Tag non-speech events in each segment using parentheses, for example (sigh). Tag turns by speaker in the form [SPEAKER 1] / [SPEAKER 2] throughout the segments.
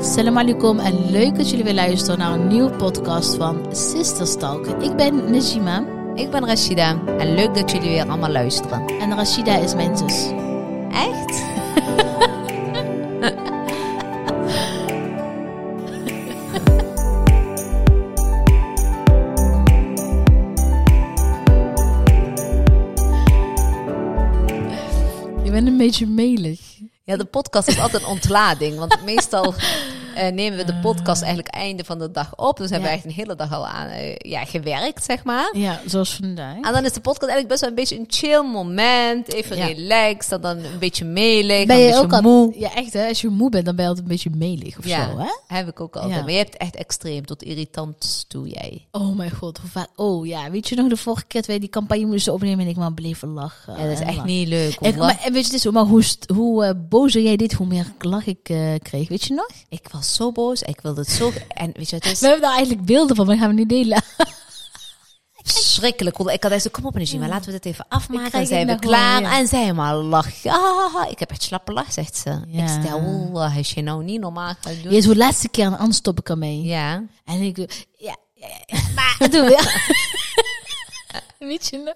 [SPEAKER 1] Salam alaikum en leuk dat jullie weer luisteren naar een nieuwe podcast van Sisters Talk. Ik ben Najima
[SPEAKER 2] Ik ben Rashida en leuk dat jullie weer allemaal luisteren.
[SPEAKER 1] en Rashida is mijn zus.
[SPEAKER 2] Echt?
[SPEAKER 1] (laughs) Je bent een beetje melig.
[SPEAKER 2] Ja, de podcast is altijd een ontlading, (laughs) want meestal eh, nemen we de podcast eigenlijk einde van de dag op. Dus hebben we echt een hele dag al aan eh, ja, gewerkt, zeg maar.
[SPEAKER 1] Ja, zoals vandaag.
[SPEAKER 2] En dan is de podcast eigenlijk best wel een beetje een chill moment, even
[SPEAKER 1] Ja.
[SPEAKER 2] relaxed, en dan een beetje melig,
[SPEAKER 1] Ben
[SPEAKER 2] een
[SPEAKER 1] je
[SPEAKER 2] beetje
[SPEAKER 1] ook al
[SPEAKER 2] moe.
[SPEAKER 1] Ja, echt hè. Als je moe bent, dan ben je altijd een beetje melig of
[SPEAKER 2] Ja,
[SPEAKER 1] zo, hè?
[SPEAKER 2] heb ik ook altijd.
[SPEAKER 1] Ja.
[SPEAKER 2] Maar je hebt echt extreem tot irritant toe jij.
[SPEAKER 1] Oh mijn god, hoe vaak... Oh ja, weet je nog de vorige keer dat we die campagne moesten opnemen en ik maar bleef lachen.
[SPEAKER 2] Ja, dat is
[SPEAKER 1] en
[SPEAKER 2] echt
[SPEAKER 1] lachen.
[SPEAKER 2] niet leuk.
[SPEAKER 1] En,
[SPEAKER 2] Oh, Ik,
[SPEAKER 1] maar, en weet je, het is zo, maar hoe, st- hoe eh, bozer jij dit, hoe meer lach ik eh, kreeg. Weet je nog?
[SPEAKER 2] ik was zo boos. Ik wilde het zo. En weet je, het is
[SPEAKER 1] We hebben daar eigenlijk beelden van, maar die gaan we niet delen.
[SPEAKER 2] verschrikkelijk. Ik had deze kom op energie, maar laten we dit even afmaken.
[SPEAKER 1] Ik
[SPEAKER 2] En
[SPEAKER 1] krijg
[SPEAKER 2] zijn
[SPEAKER 1] het
[SPEAKER 2] we
[SPEAKER 1] nog wel,
[SPEAKER 2] klaar.
[SPEAKER 1] ja.
[SPEAKER 2] En zij maar lachen. Ah, ik heb echt slappe lach, zegt ze. Ik
[SPEAKER 1] Ja.
[SPEAKER 2] stel, eh, als je nou niet normaal gaat doen.
[SPEAKER 1] Je zo de laatste keer en anders stop ik ermee.
[SPEAKER 2] Ja.
[SPEAKER 1] En ik doe, ja, ja,
[SPEAKER 2] (laughs)
[SPEAKER 1] ja, maar dat doen we. Weet je nog?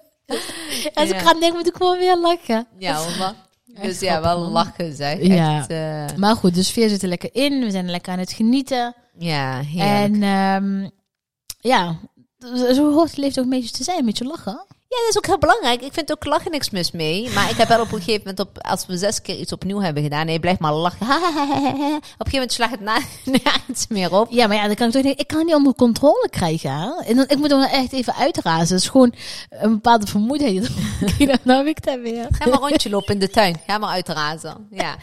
[SPEAKER 1] Als ik
[SPEAKER 2] Ja.
[SPEAKER 1] ga denken, moet ik gewoon weer lachen.
[SPEAKER 2] Ja, hoor. Dus
[SPEAKER 1] Echt
[SPEAKER 2] ja,
[SPEAKER 1] grappig,
[SPEAKER 2] wel
[SPEAKER 1] man.
[SPEAKER 2] lachen, zeg.
[SPEAKER 1] Ja.
[SPEAKER 2] Echt, eh,
[SPEAKER 1] Maar goed, dus veer zit er lekker in. We zijn lekker aan het genieten.
[SPEAKER 2] ja, heerlijk.
[SPEAKER 1] En ehm, ja, zo hoort het leven ook een beetje te zijn, met je lachen.
[SPEAKER 2] Ja, dat is ook heel belangrijk. Ik vind ook lachen niks mis mee. Maar ik heb wel op een gegeven moment, op, als we zes keer iets opnieuw hebben gedaan, en je blijft maar lachen. (laughs) op een gegeven moment slaat het na, (laughs) nergens meer op.
[SPEAKER 1] Ja, maar ja, dan kan ik toch denken, ik kan het niet onder controle krijgen. hè. En dan, ik moet hem echt even uitrazen. Het is gewoon een bepaalde vermoeidheid. (laughs) Kijk, nou heb ik dat weer.
[SPEAKER 2] Ga maar rondje lopen in de tuin. Ga maar uitrazen. Ja.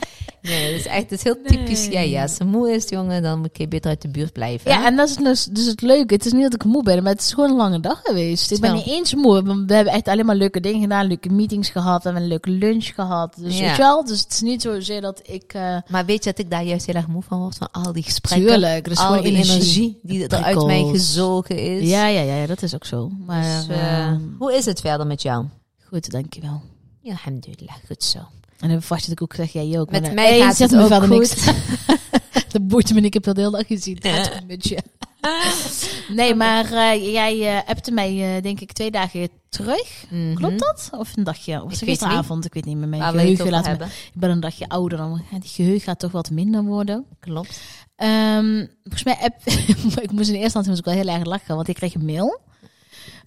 [SPEAKER 2] Nee, dat is echt dat is heel typisch. Ja, ja. Als ze moe is, jongen, dan moet je beter uit de buurt blijven.
[SPEAKER 1] Ja, en dat is dus, dus het leuke. Het is niet dat ik moe ben, maar het is gewoon een lange dag geweest. Ik ben
[SPEAKER 2] Zo.
[SPEAKER 1] niet eens moe. want We hebben echt alleen maar leuke dingen gedaan, leuke meetings gehad en een leuke lunch gehad. Dus
[SPEAKER 2] Ja.
[SPEAKER 1] weet je wel, dus het is niet zozeer dat ik... eh
[SPEAKER 2] Maar weet je dat ik daar juist heel erg moe van word? Van al die gesprekken.
[SPEAKER 1] tuurlijk, er is
[SPEAKER 2] al
[SPEAKER 1] gewoon
[SPEAKER 2] die
[SPEAKER 1] energie.
[SPEAKER 2] energie, die er uit mij
[SPEAKER 1] prikkels.
[SPEAKER 2] gezogen is.
[SPEAKER 1] Ja, ja, ja, ja, dat is ook zo. Maar
[SPEAKER 2] Dus, eh,
[SPEAKER 1] eh,
[SPEAKER 2] hoe is het verder met jou?
[SPEAKER 1] goed, dankjewel.
[SPEAKER 2] Ja, alhamdulillah. Goed zo.
[SPEAKER 1] En dan verwacht je dat ik ook zeg, jij ook.
[SPEAKER 2] Met
[SPEAKER 1] maar,
[SPEAKER 2] mij
[SPEAKER 1] eh,
[SPEAKER 2] gaat
[SPEAKER 1] zegt
[SPEAKER 2] het
[SPEAKER 1] me
[SPEAKER 2] ook
[SPEAKER 1] verder
[SPEAKER 2] goed.
[SPEAKER 1] Niks. (laughs) dat boeit me, niet, ik heb dat heel dag gezien.
[SPEAKER 2] (laughs)
[SPEAKER 1] Het gaat goed met je. Nee, maar eh, jij eh, appte mij eh, denk ik twee dagen terug. Klopt dat? Of een dagje? Of was
[SPEAKER 2] Mhm. Ik
[SPEAKER 1] het
[SPEAKER 2] weet
[SPEAKER 1] gisteravond? Mhm. Ik weet niet meer. Mijn
[SPEAKER 2] Waar we het
[SPEAKER 1] geheugen
[SPEAKER 2] over
[SPEAKER 1] laat me-
[SPEAKER 2] hebben.
[SPEAKER 1] Ik ben een dagje ouder dan. ja, Die geheugen gaat toch wat minder worden.
[SPEAKER 2] Klopt.
[SPEAKER 1] Ehm, volgens mij app. (laughs) ik moest in eerste instantie moest ik wel heel erg lachen, want ik kreeg een mail.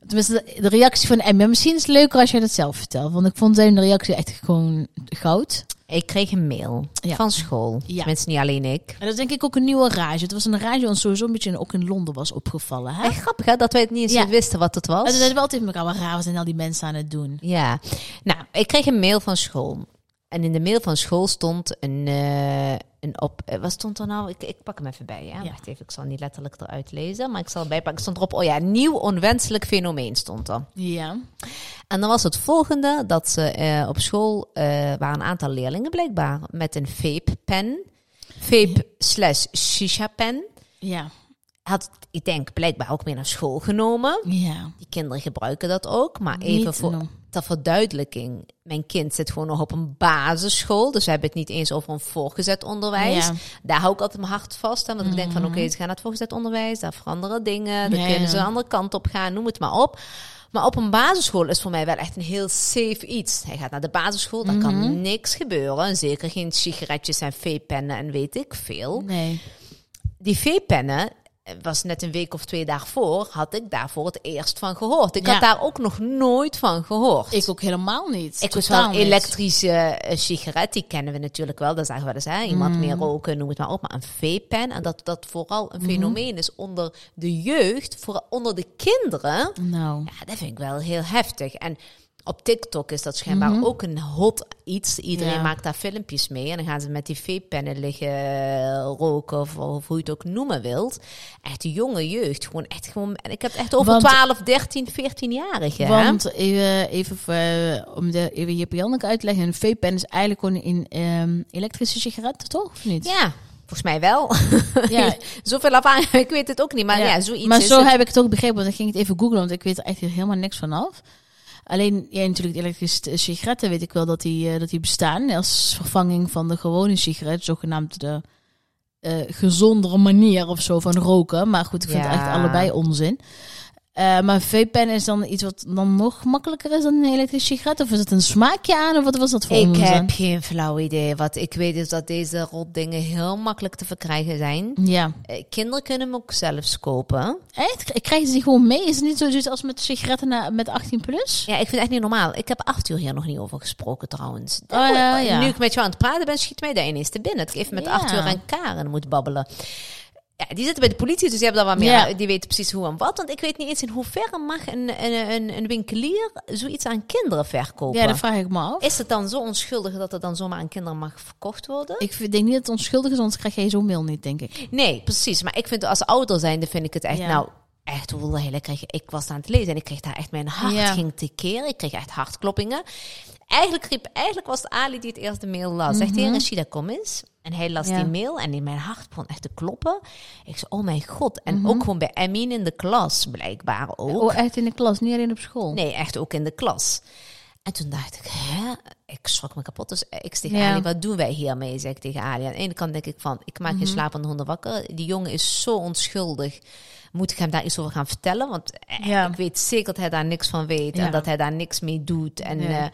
[SPEAKER 1] Tenminste, de- de reactie van Emma. Misschien is het leuker als jij dat zelf vertelt. Want ik vond zijn reactie echt gewoon goud.
[SPEAKER 2] Ik kreeg een mail
[SPEAKER 1] Ja.
[SPEAKER 2] van school.
[SPEAKER 1] Ja.
[SPEAKER 2] Mensen, niet alleen ik.
[SPEAKER 1] En dat is denk ik ook een nieuwe rage. Het was een rage die ons sowieso een beetje ook in Londen was opgevallen. Hè?
[SPEAKER 2] Echt grappig hè, dat wij het niet eens
[SPEAKER 1] Ja.
[SPEAKER 2] wisten wat het was.
[SPEAKER 1] En toen zeiden we altijd met elkaar, wat raar, wat zijn al die mensen aan het doen?
[SPEAKER 2] Ja, nou, ik kreeg een mail van school. En in de mail van school stond een, eh, een op... eh, Wat stond er nou? Ik, ik pak hem even bij, ja?
[SPEAKER 1] Ja.
[SPEAKER 2] Wacht even, ik zal niet letterlijk eruit lezen, maar ik zal erbij pakken. Stond erop, oh ja, nieuw onwenselijk fenomeen stond er.
[SPEAKER 1] Ja.
[SPEAKER 2] En dan was het volgende, dat ze eh, op school eh, waren een aantal leerlingen blijkbaar met een vape-pen. Vape slash shisha-pen.
[SPEAKER 1] Ja.
[SPEAKER 2] Had, ik denk, blijkbaar ook mee naar school genomen.
[SPEAKER 1] Ja.
[SPEAKER 2] Die kinderen gebruiken dat ook, maar even
[SPEAKER 1] Niet
[SPEAKER 2] voor
[SPEAKER 1] norm.
[SPEAKER 2] ter verduidelijking. Mijn kind zit gewoon nog op een basisschool, dus we hebben het niet eens over een voorgezet onderwijs.
[SPEAKER 1] Ja. Mhm.
[SPEAKER 2] Daar hou ik altijd mijn hart vast aan, want ik denk van oké, ze gaan naar het voorgezet onderwijs, daar veranderen dingen, dan
[SPEAKER 1] Ja,
[SPEAKER 2] kunnen
[SPEAKER 1] ja.
[SPEAKER 2] ze een andere kant op gaan, noem het maar op. Maar op een basisschool is voor mij wel echt een heel safe iets. Hij gaat naar de basisschool, daar
[SPEAKER 1] Mhm.
[SPEAKER 2] kan niks gebeuren. Zeker geen sigaretjes en veepennen en weet ik veel
[SPEAKER 1] Nee.
[SPEAKER 2] die veepennen eh, was net een week of twee daarvoor, had ik daar voor het eerst van gehoord. Ik
[SPEAKER 1] Ja.
[SPEAKER 2] had daar ook nog nooit van gehoord.
[SPEAKER 1] Ik ook helemaal niet.
[SPEAKER 2] Ik was
[SPEAKER 1] Totaal
[SPEAKER 2] wel een
[SPEAKER 1] niet.
[SPEAKER 2] elektrische eh, sigaret, die kennen we natuurlijk wel. Daar zagen we dus hè,
[SPEAKER 1] Mm.
[SPEAKER 2] iemand meer roken, noem het maar op. Maar een veepen, en dat dat vooral een
[SPEAKER 1] Mhm.
[SPEAKER 2] fenomeen is onder de jeugd, vooral onder de kinderen.
[SPEAKER 1] Nou.
[SPEAKER 2] Ja, dat vind ik wel heel heftig. En op TikTok is dat schijnbaar ook een hot iets. Iedereen
[SPEAKER 1] Mhm. Ja.
[SPEAKER 2] maakt daar filmpjes mee. En dan gaan ze met die vapennen liggen eh, roken of, of hoe je het ook noemen wilt. Echt de jonge jeugd. Gewoon echt gewoon, en ik heb het echt over
[SPEAKER 1] Want-
[SPEAKER 2] 12, 13, 14-jarigen. hè?
[SPEAKER 1] Want even, even voor- om de, even hier bij Janneke uit te leggen. Een vape-pen is eigenlijk gewoon een ehm, elektrische sigaret, toch? Of niet?
[SPEAKER 2] Ja, volgens mij wel.
[SPEAKER 1] (laughs) Ja.
[SPEAKER 2] (laughs) Zoveel ervaring, ik weet het ook niet. Maar ja, zoiets
[SPEAKER 1] maar
[SPEAKER 2] is
[SPEAKER 1] zo
[SPEAKER 2] het.
[SPEAKER 1] heb ik het ook begrepen, want ik ging het even googlen, want ik weet er echt helemaal niks vanaf. Alleen, ja, natuurlijk, de elektrische sigaretten weet ik wel dat die, eh, dat die bestaan als vervanging van de gewone sigaret, zogenaamd de eh, gezondere manier of zo van roken. Maar goed, ik vind het
[SPEAKER 2] Ja.
[SPEAKER 1] echt allebei onzin. Eh, maar vapen is dan iets wat dan nog makkelijker is dan een elektrische sigaret? Of is het een smaakje aan? Of wat was dat voor
[SPEAKER 2] Ik
[SPEAKER 1] onzin?
[SPEAKER 2] heb geen flauw idee. Wat ik weet is dat deze rotdingen heel makkelijk te verkrijgen zijn.
[SPEAKER 1] Ja.
[SPEAKER 2] Eh, Kinderen kunnen hem ook zelfs kopen.
[SPEAKER 1] Echt? Krijgen ze die gewoon mee? Is het niet zoiets als met sigaretten na- met 18 plus?
[SPEAKER 2] Ja, ik vind het echt niet normaal. Ik heb Arthur hier nog niet over gesproken trouwens.
[SPEAKER 1] Oh, ja, ja.
[SPEAKER 2] nou, Nu ik met jou aan het praten ben, schiet mij daar ineens te binnen. Dat ik even met
[SPEAKER 1] Ja.
[SPEAKER 2] Arthur en Karen moet babbelen. Ja, die zitten bij de politie, dus die hebben daar wat meer.
[SPEAKER 1] Ja.
[SPEAKER 2] Die weten precies hoe en wat. Want ik weet niet eens in hoeverre mag een, een, een, een winkelier zoiets aan kinderen verkopen.
[SPEAKER 1] Ja, dat vraag ik me af.
[SPEAKER 2] Is het dan zo onschuldig dat het dan zomaar aan kinderen mag verkocht worden?
[SPEAKER 1] Ik vind- denk niet dat het onschuldig is, anders krijg jij zo'n mail niet, denk ik.
[SPEAKER 2] Nee, precies. Maar ik vind als ouder zijnde vind ik het echt
[SPEAKER 1] Ja.
[SPEAKER 2] nou echt hoe hele kreeg ik was aan het lezen en ik kreeg daar echt mijn hart
[SPEAKER 1] Ja.
[SPEAKER 2] ging tekeer. Ik kreeg echt hartkloppingen. Eigenlijk riep eigenlijk was het Ali die het eerst de mail las. Zegt hij Rashida kom eens. En hij las
[SPEAKER 1] Mhm. Ja.
[SPEAKER 2] die mail en in mijn hart begon echt te kloppen. Ik zei, oh mijn god. En ook gewoon bij Emin in de klas, blijkbaar ook.
[SPEAKER 1] Mhm. Oh, echt in de klas, niet alleen op school.
[SPEAKER 2] Nee, echt ook in de klas. En toen dacht ik, hè? Ik schrok me kapot. Dus ik zeg tegen
[SPEAKER 1] Ja.
[SPEAKER 2] Ali, wat doen wij hiermee? Zeg ik tegen Ali. Aan de ene kant denk ik van, ik maak
[SPEAKER 1] Mhm.
[SPEAKER 2] je slapende honden wakker. Die jongen is zo onschuldig. Moet ik hem daar iets over gaan vertellen? Want eh,
[SPEAKER 1] Ja.
[SPEAKER 2] ik weet zeker dat hij daar niks van weet.
[SPEAKER 1] Ja.
[SPEAKER 2] En dat hij daar niks mee doet. En,
[SPEAKER 1] Nee.
[SPEAKER 2] eh,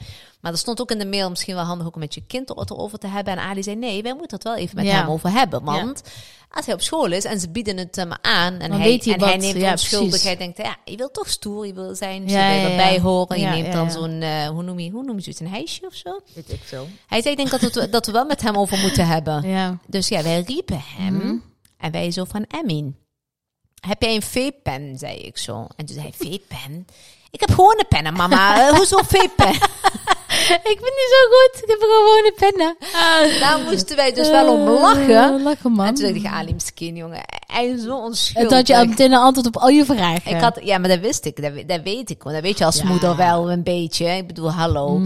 [SPEAKER 2] maar er stond ook in de mail misschien wel handig ook om met je kind er- erover te hebben. En Ali zei, nee, wij moeten het wel even met
[SPEAKER 1] Ja.
[SPEAKER 2] hem over hebben. Want als hij op school is en ze bieden het hem aan. En,
[SPEAKER 1] Dan
[SPEAKER 2] hij,
[SPEAKER 1] weet hij
[SPEAKER 2] en hij
[SPEAKER 1] wat.
[SPEAKER 2] neemt
[SPEAKER 1] Ja,
[SPEAKER 2] onschuldig.
[SPEAKER 1] precies.
[SPEAKER 2] Hij denkt, ja, je wilt toch stoer, Dus je wil zijn
[SPEAKER 1] Ja,
[SPEAKER 2] ja,
[SPEAKER 1] ja,
[SPEAKER 2] ja,
[SPEAKER 1] ja.
[SPEAKER 2] bij horen. Je
[SPEAKER 1] Ja,
[SPEAKER 2] neemt
[SPEAKER 1] ja,
[SPEAKER 2] dan
[SPEAKER 1] ja.
[SPEAKER 2] zo'n, eh, hoe noem je, hoe noem je het, een heisje of zo?
[SPEAKER 1] Weet ik veel.
[SPEAKER 2] Hij zei, ik denk dat, het, dat we wel met hem over moeten hebben.
[SPEAKER 1] Ja. Mhm.
[SPEAKER 2] Dus ja, wij riepen hem. En wij zo van, Emin, heb jij een V-pen? Zei ik zo. En toen zei hij, V-pen? Ik heb gewoon een pennen, mama. Eh, hoezo
[SPEAKER 1] (laughs)
[SPEAKER 2] V-pen?
[SPEAKER 1] (laughs) Ik ben niet zo goed. Ik heb gewoon een pennen.
[SPEAKER 2] Daar moesten wij dus wel om lachen.
[SPEAKER 1] Eh, lachen, man.
[SPEAKER 2] En toen zei ik tegen Ali, misschien jongen, hij is zo
[SPEAKER 1] En
[SPEAKER 2] onschuldig.
[SPEAKER 1] dat je al meteen een antwoord op al je vragen.
[SPEAKER 2] Ik had, ja, maar dat wist ik. Dat, we- dat weet ik. Want dat weet je als
[SPEAKER 1] Ja. Mhm.
[SPEAKER 2] moeder wel een beetje. Ik bedoel, hallo.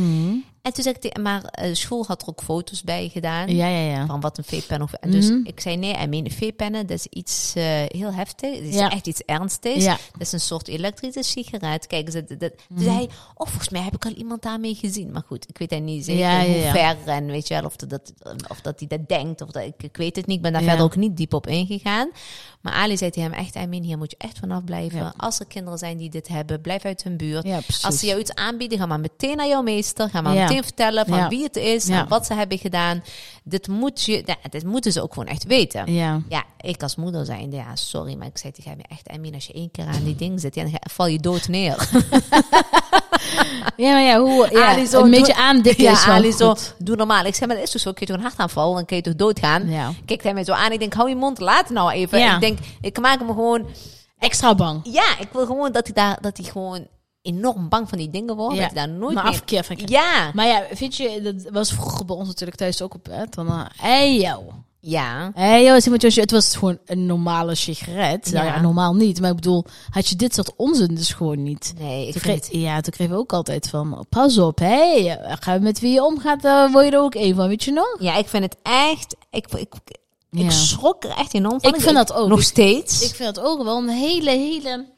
[SPEAKER 2] En toen zei ik, tegen- maar eh, school had er ook foto's bij gedaan.
[SPEAKER 1] Ja, ja, ja. Mhm.
[SPEAKER 2] Van wat een veepen of... En dus ik zei, nee, I mean, veepennen, dat is iets eh, heel heftig. Dat is
[SPEAKER 1] Ja.
[SPEAKER 2] echt iets ernstigs.
[SPEAKER 1] Ja. Mhm.
[SPEAKER 2] Dat is een soort elektrische sigaret. Kijk, ze, dat, dat, toen zei hij, oh, volgens mij heb ik al iemand daarmee gezien. Maar goed, ik weet hij niet zeker
[SPEAKER 1] Ja, ja,
[SPEAKER 2] hoe
[SPEAKER 1] ja.
[SPEAKER 2] ver en weet je wel, of dat, dat- of dat hij dat denkt. Of dat, ik, ik weet het niet, ik ben daar
[SPEAKER 1] Ja.
[SPEAKER 2] verder ook niet diep op ingegaan. Maar Ali zei tegen hem echt, I mean, hier moet je echt vanaf blijven.
[SPEAKER 1] Ja.
[SPEAKER 2] Als er kinderen zijn die dit hebben, blijf uit hun buurt.
[SPEAKER 1] Ja, precies.
[SPEAKER 2] Als ze jou iets aanbieden, ga maar meteen naar jouw meester. Ga maar
[SPEAKER 1] Ja.
[SPEAKER 2] meteen vertellen van
[SPEAKER 1] Ja.
[SPEAKER 2] wie het is
[SPEAKER 1] Ja.
[SPEAKER 2] en wat ze hebben gedaan. Dit, moet je, nou, dit moeten ze ook gewoon echt weten.
[SPEAKER 1] Ja.
[SPEAKER 2] Ja, ik als moeder zijnde, ja, sorry, maar ik zei tegen hem echt, Emin, als je één keer aan die ding zit, ja, dan ga- val je dood neer.
[SPEAKER 1] Ja, maar ja, hoe, (laughs) ja
[SPEAKER 2] Ali zo
[SPEAKER 1] een beetje
[SPEAKER 2] doet-
[SPEAKER 1] (laughs) aandikken
[SPEAKER 2] ja,
[SPEAKER 1] is wel
[SPEAKER 2] Ali
[SPEAKER 1] goed.
[SPEAKER 2] zo, doe normaal. Ik zei, maar dat is toch zo, kun je toch een hartaanval, dan kun je toch doodgaan.
[SPEAKER 1] Ja.
[SPEAKER 2] Kijkt hij mij zo aan, ik denk, hou je mond, laat het nou even.
[SPEAKER 1] Ja.
[SPEAKER 2] Ik denk, ik maak hem gewoon,
[SPEAKER 1] Extra bang.
[SPEAKER 2] ja, ik wil gewoon dat hij daar, dat hij gewoon enorm bang van die dingen wordt,
[SPEAKER 1] Ja.
[SPEAKER 2] dat hij daar nooit
[SPEAKER 1] maar
[SPEAKER 2] meer...
[SPEAKER 1] afkeer van krijgt.
[SPEAKER 2] Ja,
[SPEAKER 1] Maar ja, vind je, dat was vroeger bij ons natuurlijk thuis ook op, hè? Van, eh, hey yo.
[SPEAKER 2] ja.
[SPEAKER 1] Hey yo, Simon Joshua, het was gewoon een normale sigaret. Nou Ja.
[SPEAKER 2] Ja.
[SPEAKER 1] ja, normaal niet. Maar ik bedoel, had je dit soort onzin dus gewoon niet.
[SPEAKER 2] Nee, ik
[SPEAKER 1] Toen
[SPEAKER 2] vind
[SPEAKER 1] kreeg, ja, toen kregen we ook altijd van, pas op, hé, ga met wie je omgaat, eh, word je er ook één van, weet je nog?
[SPEAKER 2] Ja, ik vind het echt. Ik, ik, ik
[SPEAKER 1] Ja.
[SPEAKER 2] schrok er echt enorm van.
[SPEAKER 1] Ik vind dat ook.
[SPEAKER 2] Nog
[SPEAKER 1] Ik-
[SPEAKER 2] steeds.
[SPEAKER 1] Ik vind dat ook wel een hele, hele.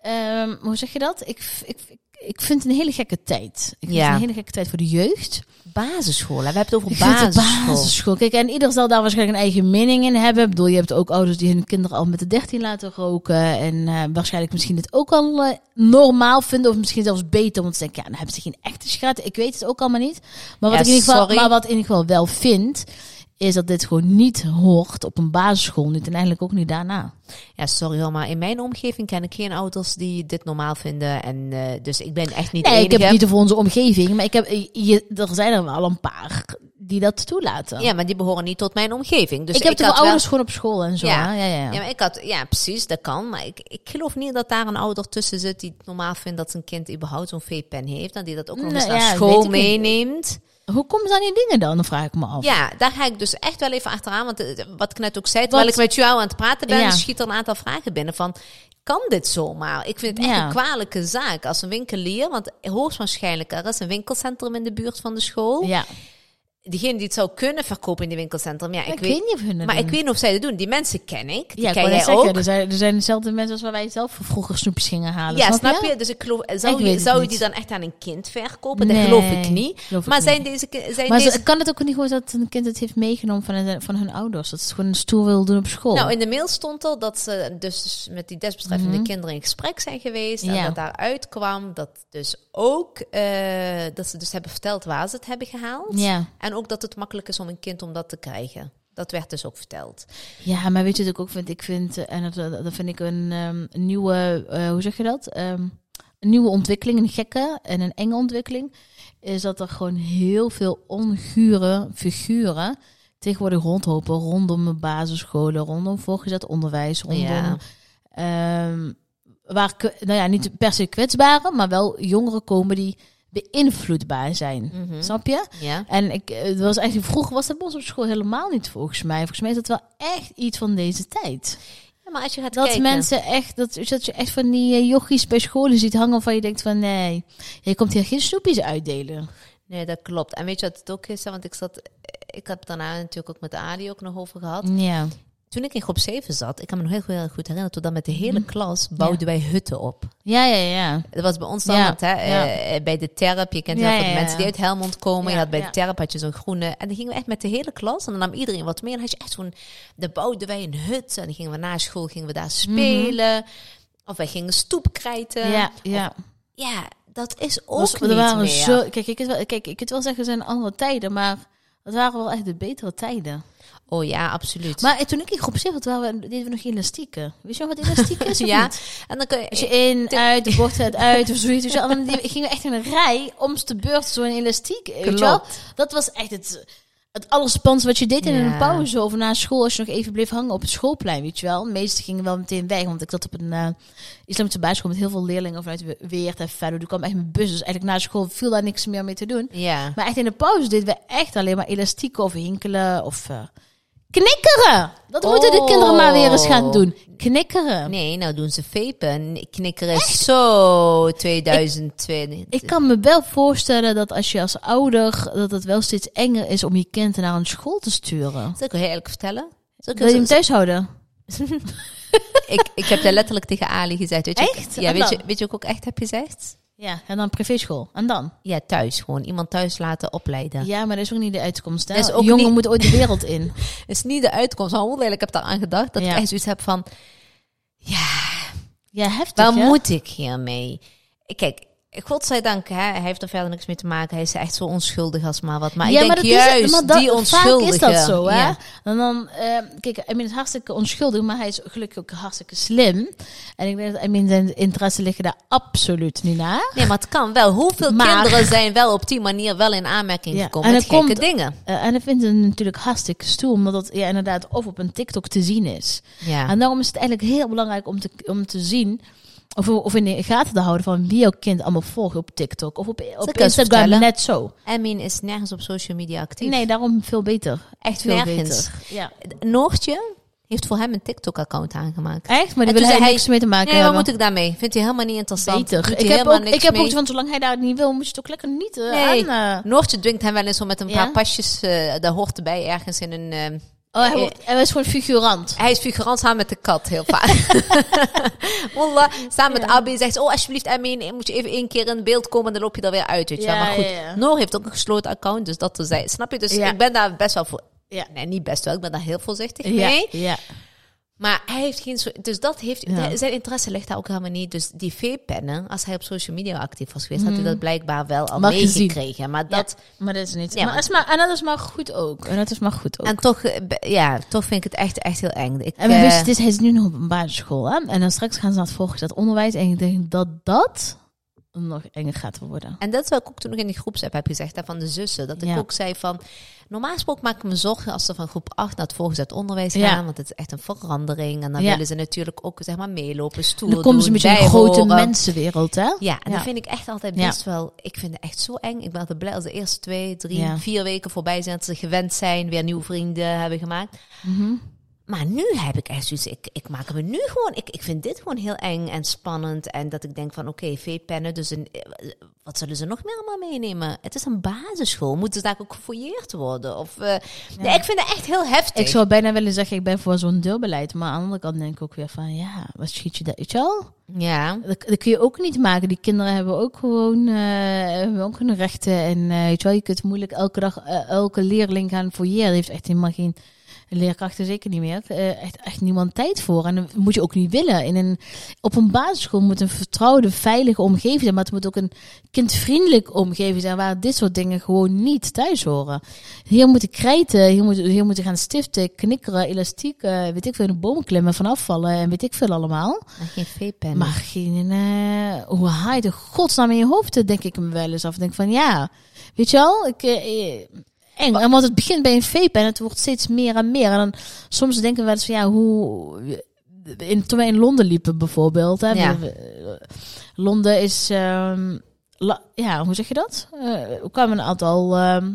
[SPEAKER 1] ehm, hoe zeg je dat? Ik, v- ik, ik, ik vind het een hele gekke tijd. Ik vind
[SPEAKER 2] Ja.
[SPEAKER 1] het een hele gekke tijd voor de jeugd.
[SPEAKER 2] basisschool. hè. We hebben het over
[SPEAKER 1] Ik vind het
[SPEAKER 2] basisschool.
[SPEAKER 1] basisschool. Kijk, en ieder zal daar waarschijnlijk een eigen mening in hebben. Ik bedoel, je hebt ook ouders die hun kinderen al met de 13 laten roken. En eh, waarschijnlijk misschien dit ook al eh, normaal vinden. Of misschien zelfs beter. Want ze denken, ja, dan hebben ze geen echte sigaretten. Ik weet het ook allemaal niet. Maar wat,
[SPEAKER 2] Ja,
[SPEAKER 1] ik, in ieder geval,
[SPEAKER 2] sorry.
[SPEAKER 1] maar wat ik in ieder geval wel vind, is dat dit gewoon niet hoort op een basisschool. Niet en eigenlijk ook niet daarna.
[SPEAKER 2] Ja, sorry hoor, maar in mijn omgeving ken ik geen ouders die dit normaal vinden. En eh, dus ik ben echt niet de
[SPEAKER 1] Nee, ik
[SPEAKER 2] enige.
[SPEAKER 1] heb het niet over onze omgeving, maar ik heb, eh, je, er zijn er wel een paar die dat toelaten.
[SPEAKER 2] Ja, maar die behoren niet tot mijn omgeving. Dus
[SPEAKER 1] ik heb het
[SPEAKER 2] had
[SPEAKER 1] over
[SPEAKER 2] wel-
[SPEAKER 1] ouders gewoon op school en zo. Ja, ja, ja.
[SPEAKER 2] Ja, maar ik had, ja, precies, dat kan. Maar ik, ik geloof niet dat daar een ouder tussen zit die het normaal vindt dat zijn kind überhaupt zo'n V-pen heeft. En die dat ook nog
[SPEAKER 1] Nee,
[SPEAKER 2] eens naar
[SPEAKER 1] Nou ja, weet
[SPEAKER 2] school
[SPEAKER 1] ik niet.
[SPEAKER 2] meeneemt.
[SPEAKER 1] Hoe komen ze aan die dingen dan? Dan vraag ik me af.
[SPEAKER 2] Ja, daar ga ik dus echt wel even achteraan. Want eh, wat ik net ook zei, terwijl
[SPEAKER 1] Wat-
[SPEAKER 2] ik met jou aan het praten ben,
[SPEAKER 1] Ja.
[SPEAKER 2] schiet er een aantal vragen binnen van... Kan dit zomaar? Ik vind het echt
[SPEAKER 1] Ja.
[SPEAKER 2] een kwalijke zaak als een winkelier. Want hoogstwaarschijnlijk, er is een winkelcentrum in de buurt van de school.
[SPEAKER 1] Ja.
[SPEAKER 2] degene die het zou kunnen verkopen in de winkelcentrum, ja,
[SPEAKER 1] Ja,
[SPEAKER 2] ik, weet,
[SPEAKER 1] niet of hun dat
[SPEAKER 2] maar
[SPEAKER 1] doen.
[SPEAKER 2] ik weet niet of zij dat doen. Die mensen ken ik, die
[SPEAKER 1] ja, ik
[SPEAKER 2] ken
[SPEAKER 1] wou net zeggen,
[SPEAKER 2] jij
[SPEAKER 1] dus-
[SPEAKER 2] ook.
[SPEAKER 1] Er zijn, er zijn dezelfde mensen als waar wij zelf vroeger snoepjes gingen halen.
[SPEAKER 2] ja, snap je? Dus ik geloof, zou,
[SPEAKER 1] Ik weet
[SPEAKER 2] je,
[SPEAKER 1] het
[SPEAKER 2] zou je
[SPEAKER 1] niet.
[SPEAKER 2] die dan echt aan een kind verkopen? Dat
[SPEAKER 1] Nee,
[SPEAKER 2] geloof ik niet.
[SPEAKER 1] geloof ik
[SPEAKER 2] maar zijn
[SPEAKER 1] niet.
[SPEAKER 2] deze, ki- zijn
[SPEAKER 1] Maar
[SPEAKER 2] deze
[SPEAKER 1] ze- kan het ook niet gewoon dat een kind het heeft meegenomen van, hun- van hun ouders? Dat ze het gewoon stoer wil doen op school?
[SPEAKER 2] Nou, in de mail stond al dat ze dus met die desbetreffende kinderen in gesprek zijn geweest. En
[SPEAKER 1] Mhm. Ja.
[SPEAKER 2] dat daaruit kwam dat dus ook eh, dat ze dus hebben verteld waar ze het hebben gehaald.
[SPEAKER 1] ja.
[SPEAKER 2] En ook dat het makkelijk is om een kind om dat te krijgen. Dat werd dus ook verteld.
[SPEAKER 1] ja, maar weet je wat ik ook vind? Ik vind, eh, en dat- dat, dat vind ik een ehm, een nieuwe, eh, hoe zeg je dat? Ehm, een nieuwe ontwikkeling, een gekke en een enge ontwikkeling. Is dat er gewoon heel veel ongure figuren tegenwoordig rondlopen. Rondom de basisscholen, rondom voorgezet onderwijs, rondom
[SPEAKER 2] Ja.
[SPEAKER 1] Ehm, waar, k- nou ja, niet per se kwetsbaren, maar wel jongeren komen die beïnvloedbaar zijn.
[SPEAKER 2] Mhm.
[SPEAKER 1] Snap je?
[SPEAKER 2] Ja.
[SPEAKER 1] En ik, eh, het was eigenlijk, vroeger was dat bij ons op school helemaal niet volgens mij. Volgens mij is dat wel echt iets van deze tijd.
[SPEAKER 2] Ja, maar als je gaat
[SPEAKER 1] Dat
[SPEAKER 2] kijken.
[SPEAKER 1] mensen echt, dat, dat je echt van die eh, jochies bij scholen ziet hangen van je denkt van nee, je komt hier geen snoepjes uitdelen.
[SPEAKER 2] Nee, dat klopt. En weet je wat het ook is? Want ik zat. Ik heb het daarna natuurlijk ook met Adi ook nog over gehad.
[SPEAKER 1] Ja.
[SPEAKER 2] Toen ik in groep 7 zat, ik kan me nog heel, heel goed herinneren, toen dan met de hele
[SPEAKER 1] Mhm.
[SPEAKER 2] klas bouwden wij hutten op.
[SPEAKER 1] Ja, ja, ja.
[SPEAKER 2] Dat was bij ons dan,
[SPEAKER 1] Ja,
[SPEAKER 2] want, hè,
[SPEAKER 1] ja.
[SPEAKER 2] eh, bij de terp, je kent
[SPEAKER 1] Ja,
[SPEAKER 2] heel veel
[SPEAKER 1] ja,
[SPEAKER 2] mensen
[SPEAKER 1] ja.
[SPEAKER 2] die uit Helmond komen. je
[SPEAKER 1] Ja,
[SPEAKER 2] had bij
[SPEAKER 1] ja.
[SPEAKER 2] de terp had je zo'n groene. En dan gingen we echt met de hele klas. En dan nam iedereen wat mee. En dan had je echt zo'n, dan bouwden wij een hut. En dan gingen we na school, gingen we
[SPEAKER 1] Mhm.
[SPEAKER 2] daar spelen. Of wij gingen stoepkrijten.
[SPEAKER 1] Ja, ja.
[SPEAKER 2] Ja, dat is ook
[SPEAKER 1] Was-
[SPEAKER 2] niet
[SPEAKER 1] waren
[SPEAKER 2] meer.
[SPEAKER 1] Zo, kijk, ik het wel, kijk, ik het wel zeggen, er zijn andere tijden, maar het waren wel echt de betere tijden.
[SPEAKER 2] Oh ja, absoluut.
[SPEAKER 1] Maar eh, toen ik in groep 7 zat, waren we, deden we nog elastieken. Weet je nog wat elastiek is? of
[SPEAKER 2] (laughs) ja,
[SPEAKER 1] niet?
[SPEAKER 2] en dan kun je... eh,
[SPEAKER 1] Als je in, uit, de bocht gaat uit of zoiets. Weet je wel. En dan die- gingen we echt in een rij om de beurt zo'n elastiek. Weet je wel? Dat was echt het, het allerspannendste wat je deed in
[SPEAKER 2] Ja.
[SPEAKER 1] een pauze of na school. Als je nog even bleef hangen op het schoolplein, weet je wel. De meesten gingen wel meteen weg, want ik zat op een eh, islamitische basisschool met heel veel leerlingen vanuit We- Weert en Venlo. Die kwam echt met bussen. Dus eigenlijk na school viel daar niks meer mee te doen.
[SPEAKER 2] Ja.
[SPEAKER 1] Maar echt in de pauze deden we echt alleen maar elastieken of hinkelen of eh, knikkeren. Dat moeten de
[SPEAKER 2] Oh.
[SPEAKER 1] kinderen maar weer eens gaan doen. Knikkeren.
[SPEAKER 2] Nee, nou doen ze vapen. Knikkeren is zo 2020.
[SPEAKER 1] Ik kan me wel voorstellen dat als je als ouder, dat het wel steeds enger is om je kind naar een school te sturen.
[SPEAKER 2] Zal ik je heel eerlijk vertellen? Zal ik
[SPEAKER 1] Wil je hem
[SPEAKER 2] eens-
[SPEAKER 1] thuis houden?
[SPEAKER 2] ik, ik heb daar letterlijk tegen Ali gezegd. Weet je,
[SPEAKER 1] Echt?
[SPEAKER 2] Ja,
[SPEAKER 1] En
[SPEAKER 2] weet
[SPEAKER 1] dan?
[SPEAKER 2] je, weet je wat ik ook echt heb gezegd?
[SPEAKER 1] Ja, en dan privéschool. En dan?
[SPEAKER 2] Ja, thuis gewoon. Iemand thuis laten opleiden.
[SPEAKER 1] Ja, maar dat is ook niet de uitkomst. Hè?
[SPEAKER 2] Dat is ook
[SPEAKER 1] Jongen
[SPEAKER 2] niet-
[SPEAKER 1] moet ooit de wereld in.
[SPEAKER 2] is niet de uitkomst. Maar heel eerlijk, ik heb daar aan gedacht. Dat
[SPEAKER 1] Ja.
[SPEAKER 2] ik echt zoiets heb van,
[SPEAKER 1] Ja, heftig
[SPEAKER 2] waar
[SPEAKER 1] hè?
[SPEAKER 2] moet ik hiermee? Kijk, godzijdank, hè, hij heeft er verder niks mee te maken. Hij is echt zo onschuldig als maar wat. Maar
[SPEAKER 1] ja,
[SPEAKER 2] ik denk
[SPEAKER 1] maar dat
[SPEAKER 2] juist,
[SPEAKER 1] is, maar dat,
[SPEAKER 2] die
[SPEAKER 1] vaak
[SPEAKER 2] onschuldige.
[SPEAKER 1] is dat zo, hè?
[SPEAKER 2] Ja.
[SPEAKER 1] En dan, eh, kijk, I mean, het is hartstikke onschuldig, maar hij is gelukkig ook hartstikke slim. En ik denk dat, I mean, zijn interesse liggen daar absoluut niet naar.
[SPEAKER 2] Nee, maar het kan wel. Hoeveel
[SPEAKER 1] Maar-
[SPEAKER 2] kinderen zijn wel op die manier wel in aanmerking
[SPEAKER 1] Ja,
[SPEAKER 2] gekomen
[SPEAKER 1] en
[SPEAKER 2] met
[SPEAKER 1] het
[SPEAKER 2] gekke
[SPEAKER 1] komt-
[SPEAKER 2] dingen?
[SPEAKER 1] Eh, en ik vind het natuurlijk hartstikke stoer, omdat dat ja, inderdaad of op een TikTok te zien is.
[SPEAKER 2] Ja.
[SPEAKER 1] En daarom is het eigenlijk heel belangrijk om te, om te zien. Of, of in de gaten te houden van wie jouw kind allemaal volgt op TikTok. Of op,
[SPEAKER 2] ik
[SPEAKER 1] op
[SPEAKER 2] eens
[SPEAKER 1] Instagram
[SPEAKER 2] vertellen?
[SPEAKER 1] net zo.
[SPEAKER 2] Emin is nergens op social media actief.
[SPEAKER 1] Nee, daarom veel beter.
[SPEAKER 2] Echt
[SPEAKER 1] Veel
[SPEAKER 2] nergens.
[SPEAKER 1] beter. Ja.
[SPEAKER 2] Noortje heeft voor hem een TikTok-account aangemaakt.
[SPEAKER 1] Echt? Maar
[SPEAKER 2] En
[SPEAKER 1] daar
[SPEAKER 2] toen
[SPEAKER 1] wil hij
[SPEAKER 2] zei
[SPEAKER 1] niks mee te maken
[SPEAKER 2] Nee, wat
[SPEAKER 1] hebben.
[SPEAKER 2] moet ik daarmee? Vindt hij helemaal niet interessant. Doet
[SPEAKER 1] beter.
[SPEAKER 2] hij
[SPEAKER 1] Ik heb,
[SPEAKER 2] helemaal
[SPEAKER 1] ook,
[SPEAKER 2] niks
[SPEAKER 1] ik heb ook
[SPEAKER 2] mee.
[SPEAKER 1] zo van, zolang hij daar niet wil, moet je het ook lekker niet eh,
[SPEAKER 2] Nee.
[SPEAKER 1] aan... eh.
[SPEAKER 2] Noortje dwingt hem wel eens om met een
[SPEAKER 1] Ja?
[SPEAKER 2] paar pasjes, eh dat hoort erbij ergens in een... eh,
[SPEAKER 1] Oh, hij, wordt- hij is gewoon figurant.
[SPEAKER 2] hij is figurant samen met de kat, heel
[SPEAKER 1] (laughs)
[SPEAKER 2] vaak. Wallah, samen met Abi zegt ze, oh alsjeblieft Amin, moet je even één keer in beeld komen en dan loop je er weer uit, weet je wel.
[SPEAKER 1] Ja,
[SPEAKER 2] Maar goed,
[SPEAKER 1] ja, ja.
[SPEAKER 2] Noor heeft ook een gesloten account, dus dat te zijn. Snap je? Dus
[SPEAKER 1] Ja.
[SPEAKER 2] ik ben daar best wel voor...
[SPEAKER 1] Ja.
[SPEAKER 2] Nee, niet best wel, ik ben daar heel voorzichtig
[SPEAKER 1] Ja,
[SPEAKER 2] mee.
[SPEAKER 1] ja.
[SPEAKER 2] Maar hij heeft geen. zo- Dus dat heeft.
[SPEAKER 1] Ja.
[SPEAKER 2] de- zijn interesse ligt daar ook helemaal niet. Dus die veepennen, als hij op social media actief was geweest, had hij dat blijkbaar wel al
[SPEAKER 1] Maar
[SPEAKER 2] meegekregen. Maar dat.
[SPEAKER 1] Dat, maar dat is niet...
[SPEAKER 2] Ja,
[SPEAKER 1] maar
[SPEAKER 2] want-
[SPEAKER 1] is maar, en dat is maar goed ook. En dat is maar goed ook.
[SPEAKER 2] En toch, eh, be- ja, toch vind ik het echt, echt heel eng. Ik,
[SPEAKER 1] En maar
[SPEAKER 2] eh,
[SPEAKER 1] weet je, het is, hij is nu nog op een basisschool. Hè? En dan straks gaan ze naar het voorgezet onderwijs. En ik denk dat dat nog enger gaat worden.
[SPEAKER 2] en dat is wat ik ook toen nog in die groepsapp heb gezegd, hè, van de zussen. Dat
[SPEAKER 1] Ja.
[SPEAKER 2] ik ook zei van, normaal gesproken maak ik me zorgen als ze van groep 8 naar het voorgezet onderwijs gaan.
[SPEAKER 1] Ja.
[SPEAKER 2] Want het is echt een verandering. En dan
[SPEAKER 1] Ja.
[SPEAKER 2] willen ze natuurlijk ook, zeg maar, meelopen, stoer
[SPEAKER 1] Dan komen ze
[SPEAKER 2] doen,
[SPEAKER 1] met een grote
[SPEAKER 2] bijhoren.
[SPEAKER 1] mensenwereld, hè?
[SPEAKER 2] Ja,
[SPEAKER 1] Ja.
[SPEAKER 2] en dat vind ik echt altijd
[SPEAKER 1] Ja.
[SPEAKER 2] best wel... Ik vind het echt zo eng. Ik ben altijd blij als de eerste twee, drie,
[SPEAKER 1] Ja.
[SPEAKER 2] vier weken voorbij zijn. Dat ze gewend zijn, weer nieuwe vrienden hebben gemaakt.
[SPEAKER 1] Mhm.
[SPEAKER 2] Maar nu heb ik echt zoiets... Ik, ik maak me nu gewoon... Ik, ik vind dit gewoon heel eng en spannend. En dat ik denk van, oké, veepennen. Dus een, eh, Wat zullen ze nog meer maar meenemen? Het is een basisschool. Moeten ze daar ook gefouilleerd worden? Of, eh, nee, ik vind het echt heel heftig.
[SPEAKER 1] Ik zou bijna willen zeggen, ik ben voor zo'n deelbeleid. Maar aan de andere kant denk ik ook weer van, ja, wat schiet je dat, weet je wel?
[SPEAKER 2] Ja.
[SPEAKER 1] Dat, dat kun je ook niet maken. Die kinderen hebben ook gewoon, eh, hebben ook hun rechten. En eh, weet je wel, je kunt moeilijk elke dag, eh, elke leerling gaan fouilleren. Er heeft echt helemaal geen leerkrachten, zeker niet meer. eh, echt, echt niemand tijd voor. En dat moet je ook niet willen. In een, op een basisschool moet een vertrouwde, veilige omgeving zijn. Maar het moet ook een kindvriendelijke omgeving zijn. Waar dit soort dingen gewoon niet thuis horen. Hier moeten krijten, hier moeten, hier moeten gaan stiften, knikkeren, elastiek. eh, weet ik veel, in de bomen klimmen, vanaf vallen en weet ik veel allemaal.
[SPEAKER 2] Maar geen veepen.
[SPEAKER 1] Maar geen, eh, hoe haal je de godsnaam in je hoofd? Dat denk ik me wel eens af. Denk van ja, weet je wel, ik, eh, eh, eng. En want het begint bij een vape en het wordt steeds meer en meer. En dan soms denken we wel eens van ja, hoe. In, toen wij in Londen liepen bijvoorbeeld. Hè,
[SPEAKER 2] Ja.
[SPEAKER 1] we- eh, Londen is. ehm, la- ja, hoe zeg je dat? Eh, er kwamen een aantal ehm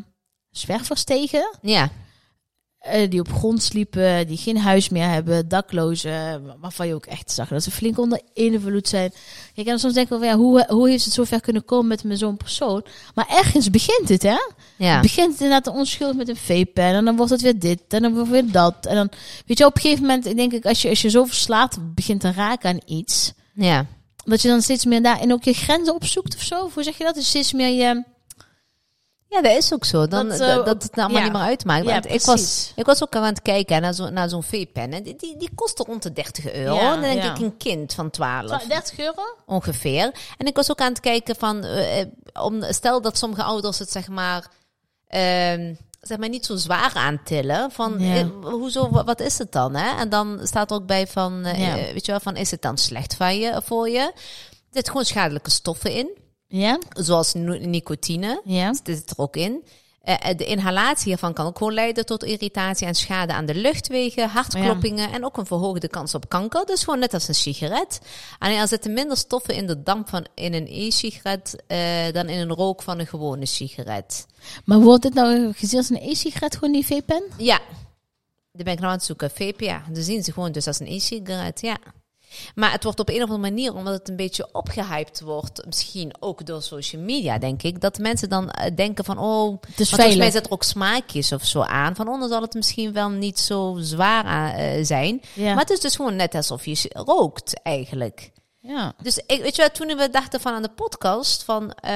[SPEAKER 1] zwervers tegen.
[SPEAKER 2] Ja.
[SPEAKER 1] Eh, die op grond sliepen, die geen huis meer hebben, daklozen, wa- waarvan je ook echt zag dat ze flink onder invloed zijn. Kijk, en soms denk ik wel, van, ja, hoe, hoe heeft het zover kunnen komen met, met zo'n persoon? Maar ergens begint het, hè?
[SPEAKER 2] Ja.
[SPEAKER 1] Begint het inderdaad onschuldig met een vapen en dan wordt het weer dit en dan wordt het weer dat. En dan, weet je, op een gegeven moment denk ik, als je, als je zo verslaafd begint te raken aan iets,
[SPEAKER 2] Ja.
[SPEAKER 1] dat je dan steeds meer daarin ook je grenzen opzoekt of zo. Of Hoe zeg je dat? Dus steeds meer je...
[SPEAKER 2] Ja, dat is ook zo. Dan,
[SPEAKER 1] Dat,
[SPEAKER 2] dat,
[SPEAKER 1] eh,
[SPEAKER 2] dat het allemaal
[SPEAKER 1] ja.
[SPEAKER 2] niet meer uitmaakt.
[SPEAKER 1] Ja,
[SPEAKER 2] Want ik,
[SPEAKER 1] precies.
[SPEAKER 2] was, ik was ook aan het kijken hè, naar zo'n naar zo'n veepen. hè. Die, die, die kostte rond de 30 euro.
[SPEAKER 1] Ja,
[SPEAKER 2] dan denk
[SPEAKER 1] ja.
[SPEAKER 2] ik een kind van 12
[SPEAKER 1] 30 euro?
[SPEAKER 2] ongeveer. En ik was ook aan het kijken van... eh, eh, om, stel dat sommige ouders het zeg maar... ehm, zeg maar niet zo zwaar aantillen. Van,
[SPEAKER 1] Ja.
[SPEAKER 2] eh, hoezo, wa- wat is het dan? Hè? En dan staat er ook bij van... eh,
[SPEAKER 1] Ja.
[SPEAKER 2] eh, weet je wel, van is het dan slecht van je, voor je? Er zitten gewoon schadelijke stoffen in.
[SPEAKER 1] Ja?
[SPEAKER 2] Zoals no- nicotine.
[SPEAKER 1] Ja?
[SPEAKER 2] Dit zit er ook in. Eh, eh, de inhalatie hiervan kan ook gewoon leiden tot irritatie en schade aan de luchtwegen, hartkloppingen en ook een verhoogde kans op kanker. Dus gewoon net als een sigaret. Alleen er zitten minder stoffen in de damp van in een e-sigaret eh, dan in een rook van een gewone sigaret.
[SPEAKER 1] Maar wordt dit nou gezien als een e-sigaret, gewoon die vapen?
[SPEAKER 2] Ja, daar ben ik nou aan het zoeken. VPA, dan zien ze gewoon dus als een e-sigaret, ja. Maar het wordt op een of andere manier, omdat het een beetje opgehyped wordt, misschien ook door social media, denk ik, dat mensen dan eh, denken van, oh,
[SPEAKER 1] Het is
[SPEAKER 2] want volgens mij
[SPEAKER 1] veilig.
[SPEAKER 2] zit er ook smaakjes of zo aan. Van onder zal het misschien wel niet zo zwaar aan, eh, zijn.
[SPEAKER 1] Ja.
[SPEAKER 2] Maar het is dus gewoon net alsof je s- rookt eigenlijk.
[SPEAKER 1] Ja.
[SPEAKER 2] Dus ik, weet je wel, toen we dachten van aan de podcast van... eh,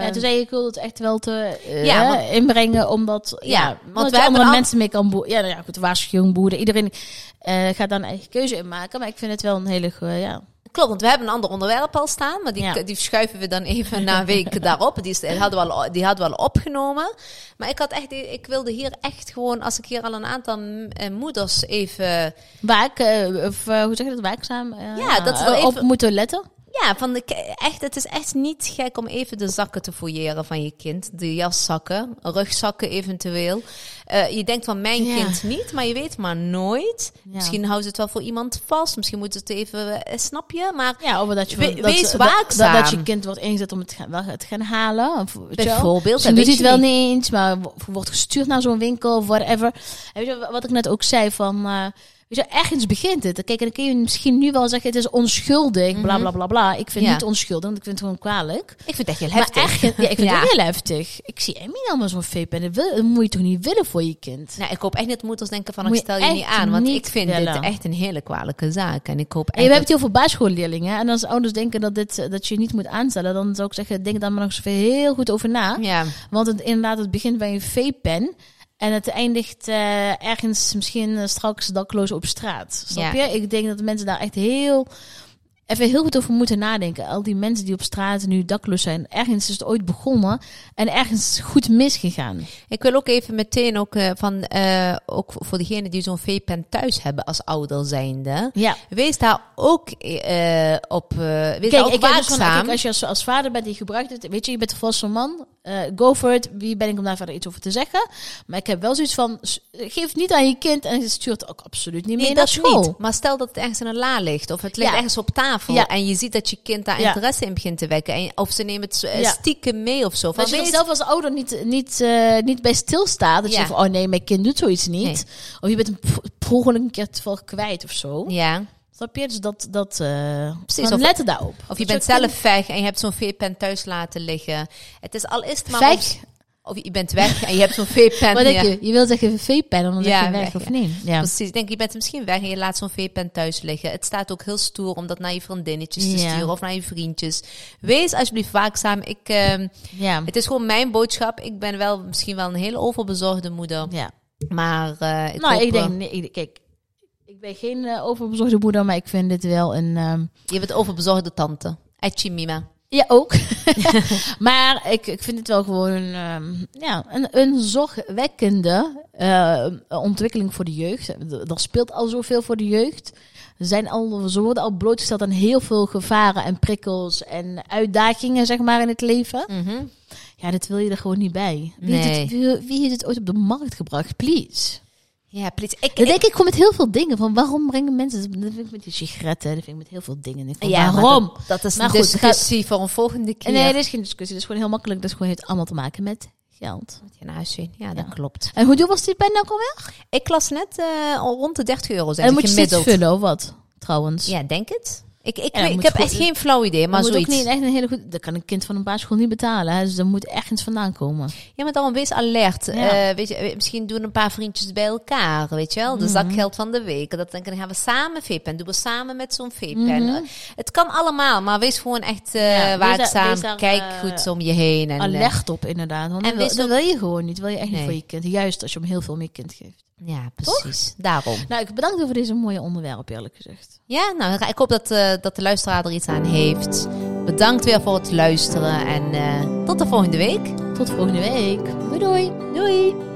[SPEAKER 1] ja, toen zei je, ik wil het echt wel te eh,
[SPEAKER 2] Ja, want-
[SPEAKER 1] inbrengen, omdat ja,
[SPEAKER 2] Ja, want
[SPEAKER 1] omdat
[SPEAKER 2] we
[SPEAKER 1] je
[SPEAKER 2] hebben
[SPEAKER 1] andere
[SPEAKER 2] al-
[SPEAKER 1] mensen mee kan boeren. Ja, nou ja, goed, waarschuwing boeren. Iedereen eh, gaat daar een eigen keuze in maken, maar ik vind het wel een hele goede, ja.
[SPEAKER 2] Klopt, want we hebben een ander onderwerp al staan, maar die,
[SPEAKER 1] Ja.
[SPEAKER 2] die verschuiven we dan
[SPEAKER 1] (laughs)
[SPEAKER 2] even na een week daarop. Die, is- die hadden we al, die hadden we al opgenomen. Maar ik, had echt, ik wilde hier echt gewoon, als ik hier al een aantal m- eh, moeders even...
[SPEAKER 1] Waak, eh, of eh, hoe zeg je dat, waakzaam? eh,
[SPEAKER 2] Ja, dat ze er
[SPEAKER 1] eh, op
[SPEAKER 2] even-
[SPEAKER 1] moeten letten.
[SPEAKER 2] Ja, van de, k- echt, het is echt niet gek om even de zakken te fouilleren van je kind. De jaszakken, rugzakken eventueel. Eh, je denkt van mijn
[SPEAKER 1] Ja.
[SPEAKER 2] kind niet, maar je weet maar nooit.
[SPEAKER 1] Ja.
[SPEAKER 2] Misschien houden ze het wel voor iemand vast. Misschien moet het even, eh, snap je? Maar
[SPEAKER 1] Ja, of dat je,
[SPEAKER 2] We-
[SPEAKER 1] dat,
[SPEAKER 2] wees
[SPEAKER 1] dat-
[SPEAKER 2] waakzaam.
[SPEAKER 1] Dat, dat je kind wordt ingezet om het gaan, wel het gaan halen. Of, weet Dus je wel.
[SPEAKER 2] Bijvoorbeeld,
[SPEAKER 1] Misschien
[SPEAKER 2] dat
[SPEAKER 1] doet hij het
[SPEAKER 2] weet
[SPEAKER 1] wel
[SPEAKER 2] je
[SPEAKER 1] niet eens, maar wo- wordt gestuurd naar zo'n winkel of whatever. En weet je, wat ik net ook zei van... eh, Weet je, ergens begint het. Kijk, en dan kun je misschien nu wel zeggen, het is onschuldig, bla bla bla bla. Ik vind
[SPEAKER 2] Mhm. Ja.
[SPEAKER 1] het niet onschuldig, want ik vind het gewoon kwalijk.
[SPEAKER 2] ik vind het echt heel
[SPEAKER 1] Maar
[SPEAKER 2] heftig.
[SPEAKER 1] echt, (laughs) ja, ik vind
[SPEAKER 2] (laughs) Ja.
[SPEAKER 1] het ook heel heftig. Ik zie Emmy allemaal zo'n vape en dat, wil, dat moet je toch niet willen voor je kind?
[SPEAKER 2] Nou, ik hoop echt dat moeders denken van,
[SPEAKER 1] Moet
[SPEAKER 2] ik
[SPEAKER 1] je
[SPEAKER 2] stel je niet
[SPEAKER 1] echt
[SPEAKER 2] aan. Want
[SPEAKER 1] niet
[SPEAKER 2] ik vind
[SPEAKER 1] willen.
[SPEAKER 2] dit echt een hele kwalijke zaak. En ik hoop
[SPEAKER 1] En je
[SPEAKER 2] echt
[SPEAKER 1] hebt
[SPEAKER 2] dat-
[SPEAKER 1] het heel veel basisschoolleerlingen. hè. En als ouders denken dat, dit, eh, dat je niet moet aanstellen, dan zou ik zeggen, denk daar maar nog eens even heel goed over na.
[SPEAKER 2] Ja,
[SPEAKER 1] Want het, inderdaad, het begint bij een vapen En het eindigt eh, ergens misschien eh, straks dakloos op straat. Snap
[SPEAKER 2] Ja.
[SPEAKER 1] je? Ik denk dat mensen daar echt heel... Even heel goed over moeten nadenken. Al die mensen die op straat nu dakloos zijn. Ergens is het ooit begonnen. En ergens is het goed misgegaan.
[SPEAKER 2] ik wil ook even meteen ook, eh, van, eh, ook voor degenen die zo'n V-pen thuis hebben als ouder zijnde.
[SPEAKER 1] Ja.
[SPEAKER 2] Wees daar ook eh, op, eh wees daar
[SPEAKER 1] Kijk,
[SPEAKER 2] ook
[SPEAKER 1] ik heb dus van,
[SPEAKER 2] waakzaam.
[SPEAKER 1] kijk, als je als, als vader bent die gebruikt het, weet je, je bent een volwassen man, eh, go for it. Wie ben ik om daar verder iets over te zeggen? Maar ik heb wel zoiets van, s- geef het niet aan je kind en stuurt ook absoluut niet mee
[SPEAKER 2] Nee,
[SPEAKER 1] naar
[SPEAKER 2] dat
[SPEAKER 1] school.
[SPEAKER 2] niet. Maar stel dat het ergens in een la ligt. Of het ligt
[SPEAKER 1] Ja.
[SPEAKER 2] ergens op tafel.
[SPEAKER 1] Ja.
[SPEAKER 2] En je ziet dat je kind daar
[SPEAKER 1] Ja.
[SPEAKER 2] interesse in begint te wekken. En, of ze nemen het eh,
[SPEAKER 1] Ja.
[SPEAKER 2] stiekem mee of zo. Van,
[SPEAKER 1] Dat je er
[SPEAKER 2] weet-
[SPEAKER 1] zelf als ouder niet, niet, eh, niet bij stilstaat. Dat je
[SPEAKER 2] Ja.
[SPEAKER 1] denkt van, oh nee, mijn kind doet zoiets niet.
[SPEAKER 2] Nee.
[SPEAKER 1] Of je bent een per per ongeluk een keer toevallig kwijt of zo.
[SPEAKER 2] Ja.
[SPEAKER 1] Snap Snap je? Dus dat, dat eh
[SPEAKER 2] Precies,
[SPEAKER 1] dan
[SPEAKER 2] of-
[SPEAKER 1] let er daarop.
[SPEAKER 2] Of je bent zelf weg en je hebt zo'n veepen thuis laten liggen. Het is al is het maar...
[SPEAKER 1] Veg?
[SPEAKER 2] Of, of je bent weg en je hebt zo'n veepen...
[SPEAKER 1] Wat denk
[SPEAKER 2] ja.
[SPEAKER 1] je? Je wil zeggen veepen, dan
[SPEAKER 2] Ja,
[SPEAKER 1] leg je
[SPEAKER 2] weg,
[SPEAKER 1] weg
[SPEAKER 2] ja.
[SPEAKER 1] of nee? Ja.
[SPEAKER 2] Precies, ik denk je bent misschien weg en je laat zo'n veepen thuis liggen. Het staat ook heel stoer om dat naar je vriendinnetjes te
[SPEAKER 1] Ja.
[SPEAKER 2] sturen of naar je vriendjes. Wees alsjeblieft waakzaam. Ik, ehm,
[SPEAKER 1] ja.
[SPEAKER 2] het is gewoon mijn boodschap. Ik ben wel misschien wel een hele overbezorgde moeder.
[SPEAKER 1] ja.
[SPEAKER 2] Maar eh, ik
[SPEAKER 1] nou,
[SPEAKER 2] hoop,
[SPEAKER 1] ik denk,
[SPEAKER 2] eh,
[SPEAKER 1] nee, ik- kijk, ik ben geen eh, overbezorgde moeder, maar ik vind dit wel een. ehm,
[SPEAKER 2] je bent overbezorgde tante. Etchi Mima.
[SPEAKER 1] ja,
[SPEAKER 2] (laughs)
[SPEAKER 1] ook. (laughs) maar ik, ik vind het wel gewoon ehm, ja, een, een zorgwekkende eh, ontwikkeling voor de jeugd. Er er speelt al zoveel voor de jeugd. Ze Zijn al, ze worden al blootgesteld aan heel veel gevaren en prikkels en uitdagingen, zeg maar, in het leven. Ja, dat wil je er gewoon niet bij. Wie, heeft, het, wie, wie heeft het ooit op de markt gebracht? Please.
[SPEAKER 2] Ja, please. Ik,
[SPEAKER 1] Dat denk ik gewoon met heel veel dingen. Van waarom brengen mensen... Dat vind ik met die sigaretten, dat vind ik met heel veel dingen. Ik van,
[SPEAKER 2] Ja, maar
[SPEAKER 1] waarom?
[SPEAKER 2] Dat, dat is
[SPEAKER 1] Maar
[SPEAKER 2] een
[SPEAKER 1] goed, het gaat-
[SPEAKER 2] discussie voor een volgende keer.
[SPEAKER 1] nee, dat eh, is geen discussie. Dat is gewoon heel makkelijk. Dat is gewoon heeft allemaal te maken met geld.
[SPEAKER 2] Moet je naar huis zien. Ja, dat
[SPEAKER 1] Ja.
[SPEAKER 2] klopt.
[SPEAKER 1] En hoe duur was die pen nou ook alweer?
[SPEAKER 2] Ik las net eh, al rond de 30 euro.
[SPEAKER 1] En
[SPEAKER 2] Zijn
[SPEAKER 1] dan
[SPEAKER 2] ze
[SPEAKER 1] moet je steeds
[SPEAKER 2] gemiddeld.
[SPEAKER 1] vullen of wat? Trouwens.
[SPEAKER 2] Ja, denk het. Ik, ik,
[SPEAKER 1] Ja, dat
[SPEAKER 2] weet- ik
[SPEAKER 1] moet
[SPEAKER 2] heb
[SPEAKER 1] goed-
[SPEAKER 2] echt geen flauw idee, maar
[SPEAKER 1] dat moet ook
[SPEAKER 2] zoiets.
[SPEAKER 1] niet echt een hele goede... Dat kan een kind van een basisschool niet betalen. Hè? Dus dat moet ergens vandaan komen.
[SPEAKER 2] Ja, maar dan wees alert.
[SPEAKER 1] Ja.
[SPEAKER 2] Eh, weet je, eh, misschien doen een paar vriendjes bij elkaar, weet je wel.
[SPEAKER 1] Mhm.
[SPEAKER 2] De zakgeld van de week. Dat dan gaan we samen vapen. Doen we samen met zo'n vapen. Eh, Het kan allemaal, maar wees gewoon echt
[SPEAKER 1] Mhm.
[SPEAKER 2] eh,
[SPEAKER 1] Ja, wees daar-
[SPEAKER 2] waakzaam.
[SPEAKER 1] wees daar,
[SPEAKER 2] Kijk
[SPEAKER 1] eh,
[SPEAKER 2] goed om je heen. En, eh,
[SPEAKER 1] Alert op inderdaad. Want
[SPEAKER 2] en
[SPEAKER 1] en dat,
[SPEAKER 2] wist
[SPEAKER 1] dat wil je gewoon niet. Dat wil je echt
[SPEAKER 2] Nee.
[SPEAKER 1] niet voor je kind. Juist als je hem heel veel meer kind geeft.
[SPEAKER 2] ja, precies. Daarom.
[SPEAKER 1] Nou, ik bedank je voor deze mooie onderwerp eerlijk gezegd.
[SPEAKER 2] Ja, nou, ik hoop dat, eh, dat de luisteraar er iets aan heeft. Bedankt weer voor het luisteren en eh, tot de volgende week.
[SPEAKER 1] Tot volgende week. Doei doei.
[SPEAKER 2] Doei!